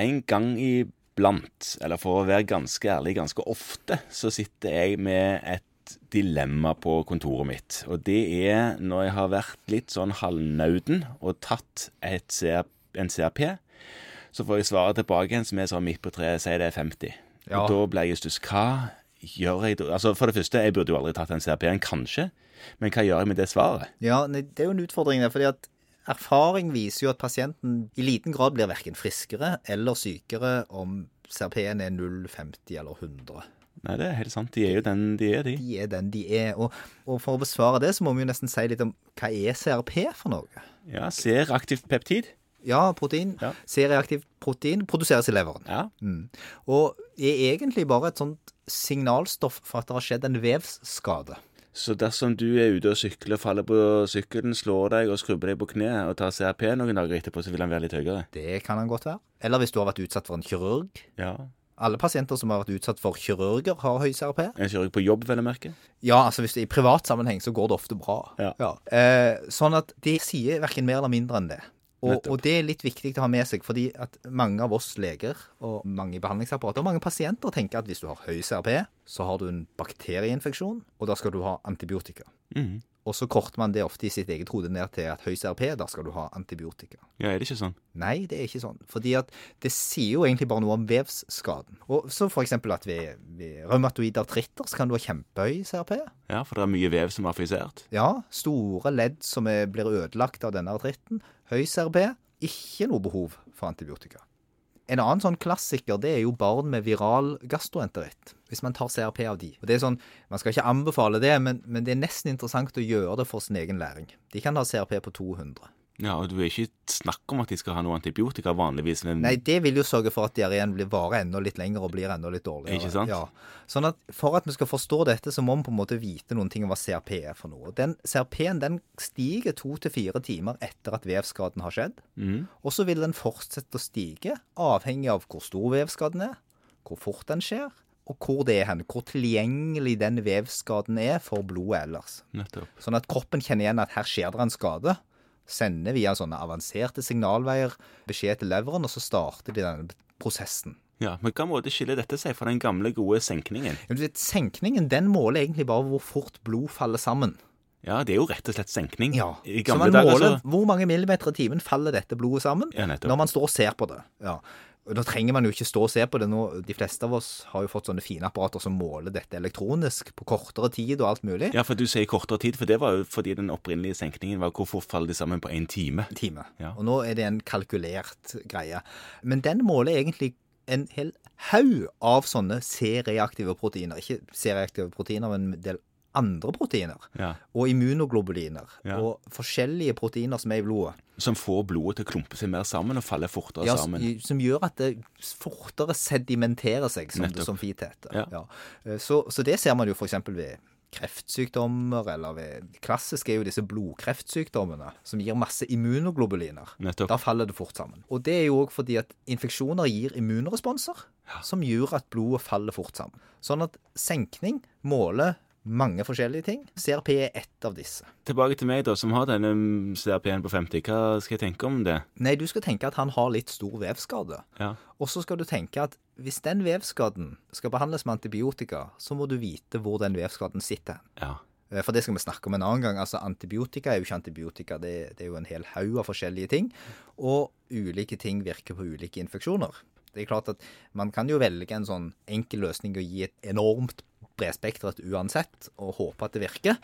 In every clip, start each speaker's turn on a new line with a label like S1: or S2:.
S1: En gang iblant, eller for å være ganske ærlig ganske ofte, så sitter jeg med et dilemma på kontoret mitt. Og det er når jeg har vært litt sånn halvnauden og tatt et CR, en CRP, så får jeg svaret tilbake igjen som er sånn midt på treet, sier det er 50.
S2: Ja.
S1: Og da blir jeg stuss. Hva gjør jeg da? Altså, for det første, jeg burde jo aldri tatt den CRP-en, kanskje. Men hva gjør jeg med det svaret?
S2: Ja, nei, det er jo en utfordring der, fordi at erfaring viser jo at pasienten i liten grad blir verken friskere eller sykere om CRP-en er 0, 50 eller 100.
S1: Nei, det er helt sant. De er jo den de er, de.
S2: De er den de er. Og, og for å besvare det, så må vi jo nesten si litt om hva er CRP for noe?
S1: Ja, ser aktivt peptid.
S2: Ja, protein.
S1: Ja.
S2: C-reaktivt protein produseres i leveren.
S1: Ja.
S2: Mm. Og er egentlig bare et sånt signalstoff for at det har skjedd en vevsskade.
S1: Så dersom du er ute og sykler, faller på sykkelen, slår deg og skrubber deg på kneet og tar CRP noen dager etterpå, så vil han være litt høyere.
S2: Det kan han godt være. Eller hvis du har vært utsatt for en kirurg.
S1: Ja.
S2: Alle pasienter som har vært utsatt for kirurger, har høy CRP.
S1: En kjører på jobb, vel å merke.
S2: Ja, altså hvis det, i privat sammenheng så går det ofte bra.
S1: Ja.
S2: Eh, sånn at de sier verken mer eller mindre enn det. Og,
S1: Nettopp.
S2: og det er litt viktig å ha med seg, fordi at mange av oss leger og mange i behandlingsapparatet og mange pasienter tenker at hvis du har høy CRP, så har du en bakterieinfeksjon, og da skal du ha antibiotika.
S1: Mhm.
S2: Og så korter man det ofte i sitt eget hode ned til at høy CRP, da skal du ha antibiotika.
S1: Ja, er det ikke sånn?
S2: Nei, det er ikke sånn. Fordi at det sier jo egentlig bare noe om vevsskaden. Og så for eksempel at ved, ved rheumatoid artritter så kan du ha kjempehøy CRP.
S1: Ja, for det er mye vev som er affisert.
S2: Ja, store ledd som er, blir ødelagt av denne artritten. Høy CRP, ikke noe behov for antibiotika. En annen sånn klassiker det er jo barn med viral gastroenteritt. Hvis man tar CRP av de. Og det er sånn, Man skal ikke anbefale det, men, men det er nesten interessant å gjøre det for sin egen læring. De kan ha CRP på 200.
S1: Ja, og du er ikke snakk om at de skal ha noe antibiotika vanligvis, men
S2: Nei, det vil jo sørge for at diareen blir varer enda litt lenger og blir enda litt dårligere.
S1: Ikke sant?
S2: Ja. Sånn at For at vi skal forstå dette, så må vi på en måte vite noen ting om hva CRP er for noe. Og Den CRP-en den stiger to til fire timer etter at vevskaden har skjedd.
S1: Mm,
S2: Og så vil den fortsette å stige, avhengig av hvor stor vevskaden er, hvor fort den skjer, og hvor det er hen. Hvor tilgjengelig den vevskaden er for blodet ellers.
S1: nettopp.
S2: Sånn at kroppen kjenner igjen at her skjer det en skade. Sender via sånne avanserte signalveier beskjed til leveren, og så starter de denne prosessen.
S1: Ja, men hva måte skiller dette seg fra den gamle, gode senkningen?
S2: Men Du vet, senkningen den måler egentlig bare hvor fort blod faller sammen.
S1: Ja, det er jo rett og slett senkning. I
S2: så man
S1: gamle dager,
S2: måler
S1: så
S2: hvor mange millimeter i timen faller dette blodet sammen
S1: Ja, nettopp.
S2: når man står og ser på det. Ja. Og Da trenger man jo ikke stå og se på det. Nå, de fleste av oss har jo fått sånne fine apparater som måler dette elektronisk på kortere tid og alt mulig.
S1: Ja, for du sier kortere tid, for det var jo fordi den opprinnelige senkningen var hvor fort faller de sammen på én time.
S2: time.
S1: Ja.
S2: Og nå er det en kalkulert greie. Men den måler egentlig en hel haug av sånne C-reaktive proteiner. Ikke C-reaktive proteiner, men en del andre proteiner.
S1: Ja.
S2: Og immunoglobuliner.
S1: Ja.
S2: Og forskjellige proteiner som er i blodet.
S1: Som får blodet til å klumpe seg mer sammen og falle fortere
S2: Ja,
S1: sammen.
S2: s- Som gjør at det fortere sedimenterer seg, som
S1: Nettopp.
S2: det som fint heter.
S1: Ja.
S2: Eh, Så, så det ser man jo f.eks. ved kreftsykdommer, eller ved det Klassiske er jo disse blodkreftsykdommene, som gir masse immunoglobuliner.
S1: Nettopp.
S2: Da faller det fort sammen. Og det er jo òg fordi at infeksjoner gir immunresponser, som gjør at blodet faller fort sammen. Sånn at senkning måler mange forskjellige ting. CRP er ett av disse.
S1: Tilbake til meg, da, som har denne mm, CRP-en på 50. Hva skal jeg tenke om det?
S2: Nei, du skal tenke at han har litt stor vevskade.
S1: Ja.
S2: Og så skal du tenke at hvis den vevskaden skal behandles med antibiotika, så må du vite hvor den vevskaden sitter.
S1: ja.
S2: Eh, For det skal vi snakke om en annen gang. Altså, Antibiotika er jo ikke antibiotika, det, det er jo en hel haug av forskjellige ting. Og ulike ting virker på ulike infeksjoner. Det er klart at Man kan jo velge en sånn enkel løsning og gi et enormt bredspektret uansett, og håpe at det virker.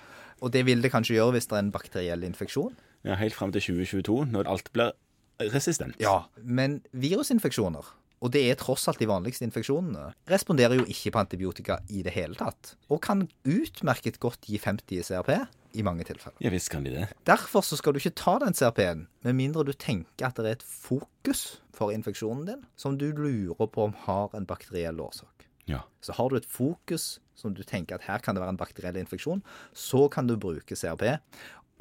S2: Og det vil det kanskje gjøre hvis det er en bakteriell infeksjon.
S1: ja helt fram til 2022, når alt blir resistent.
S2: Ja, men virusinfeksjoner, og det er tross alt de vanligste infeksjonene, responderer jo ikke på antibiotika i det hele tatt, og kan utmerket godt gi 50 i CRP i mange tilfeller.
S1: Ja visst kan de det.
S2: Derfor så skal du ikke ta den CRP-en, med mindre du tenker at det er et fokus for infeksjonen din, som du lurer på om har en bakteriell årsak.
S1: Ja.
S2: Så har du et fokus som du tenker at her kan det være en bakteriell infeksjon, så kan du bruke CRP.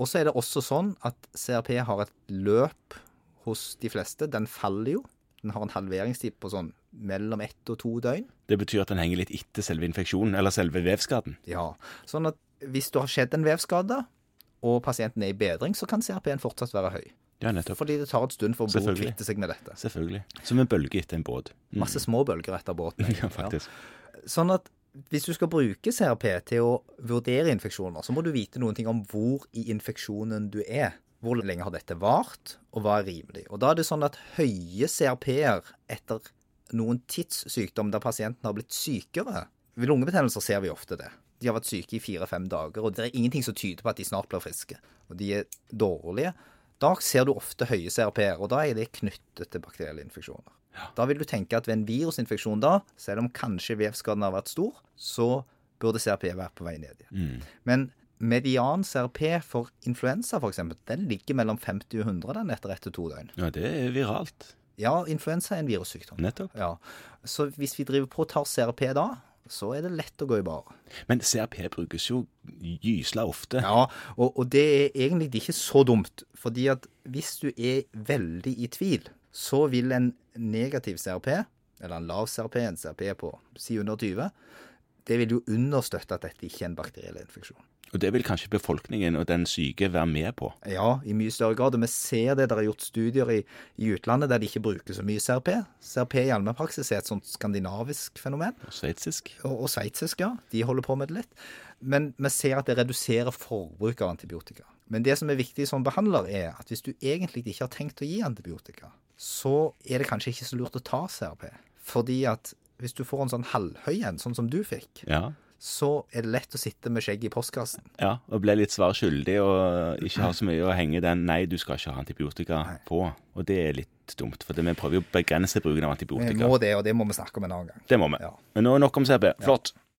S2: Og så er det også sånn at CRP har et løp hos de fleste. Den faller jo. Den har en halveringstid på sånn mellom ett og to døgn.
S1: Det betyr at den henger litt etter selve infeksjonen, eller selve vevskaden.
S2: Ja, Sånn at hvis du har skjedd en vevskade, og pasienten er i bedring, så kan CRP-en fortsatt være høy.
S1: Ja, nettopp.
S2: Fordi det tar et stund for å bo-
S1: Selvfølgelig.
S2: kvitte seg med dette.
S1: Selvfølgelig. Som en bølge etter en båt. Mm.
S2: Masse små bølger etter båten.
S1: Ja,
S2: egentlig,
S1: faktisk.
S2: Sånn at hvis du skal bruke CRP til å vurdere infeksjoner, så må du vite noen ting om hvor i infeksjonen du er. Hvor lenge har dette vart, og hva er rimelig? Og da er det sånn at høye CRP-er etter noen tidssykdom der pasienten har blitt sykere Ved lungebetennelser ser vi ofte det. De har vært syke i fire-fem dager, og det er ingenting som tyder på at de snart blir friske. Og de er dårlige. Da ser du ofte høye CRP-er, og da er det knyttet til bakterielle infeksjoner. Da vil du tenke at ved en virusinfeksjon da, selv om kanskje vevskaden har vært stor, så burde CRP være på vei ned igjen.
S1: Mm.
S2: Men median CRP for influensa f.eks., den ligger mellom 50 og 100 den etter ett til to døgn.
S1: Ja, det er viralt.
S2: Ja, influensa er en virussykdom.
S1: Nettopp.
S2: Ja. Så hvis vi driver på og tar CRP da, så er det lett å gå i bar.
S1: Men CRP brukes jo gysla ofte.
S2: Ja, og, og det er egentlig ikke så dumt, fordi at hvis du er veldig i tvil, så vil en negativ CRP, eller en lav CRP, en CRP på si under 20, det vil jo understøtte at dette ikke er en bakteriell infeksjon.
S1: Og det vil kanskje befolkningen og den syke være med på.
S2: Ja, i mye større grad, og vi ser det, der er gjort studier i, i utlandet der de ikke bruker så mye CRP. CRP i allmennpraksis er et sånt skandinavisk fenomen.
S1: Og Sveitsisk.
S2: og, og sveitsisk, ja. De holder på med det litt. Men vi ser at det reduserer forbruk av antibiotika. Men det som er viktig som behandler, er at hvis du egentlig ikke har tenkt å gi antibiotika, så er det kanskje ikke så lurt å ta CRP. Fordi at hvis du får en sånn halvhøy en, sånn som du fikk,
S1: Ja.
S2: så er det lett å sitte med skjegget i postkassen.
S1: ja. Og ble litt svar skyldig og ikke har så mye å henge den 'nei, du skal ikke ha antibiotika' på. Og det er litt dumt, for det- vi prøver jo å begrense bruken av
S2: Vi
S1: antibiotika.
S2: må det, og det må vi snakke om en annen gang.
S1: Det må vi.
S2: Ja.
S1: Men nå er nok om CRP. Flott.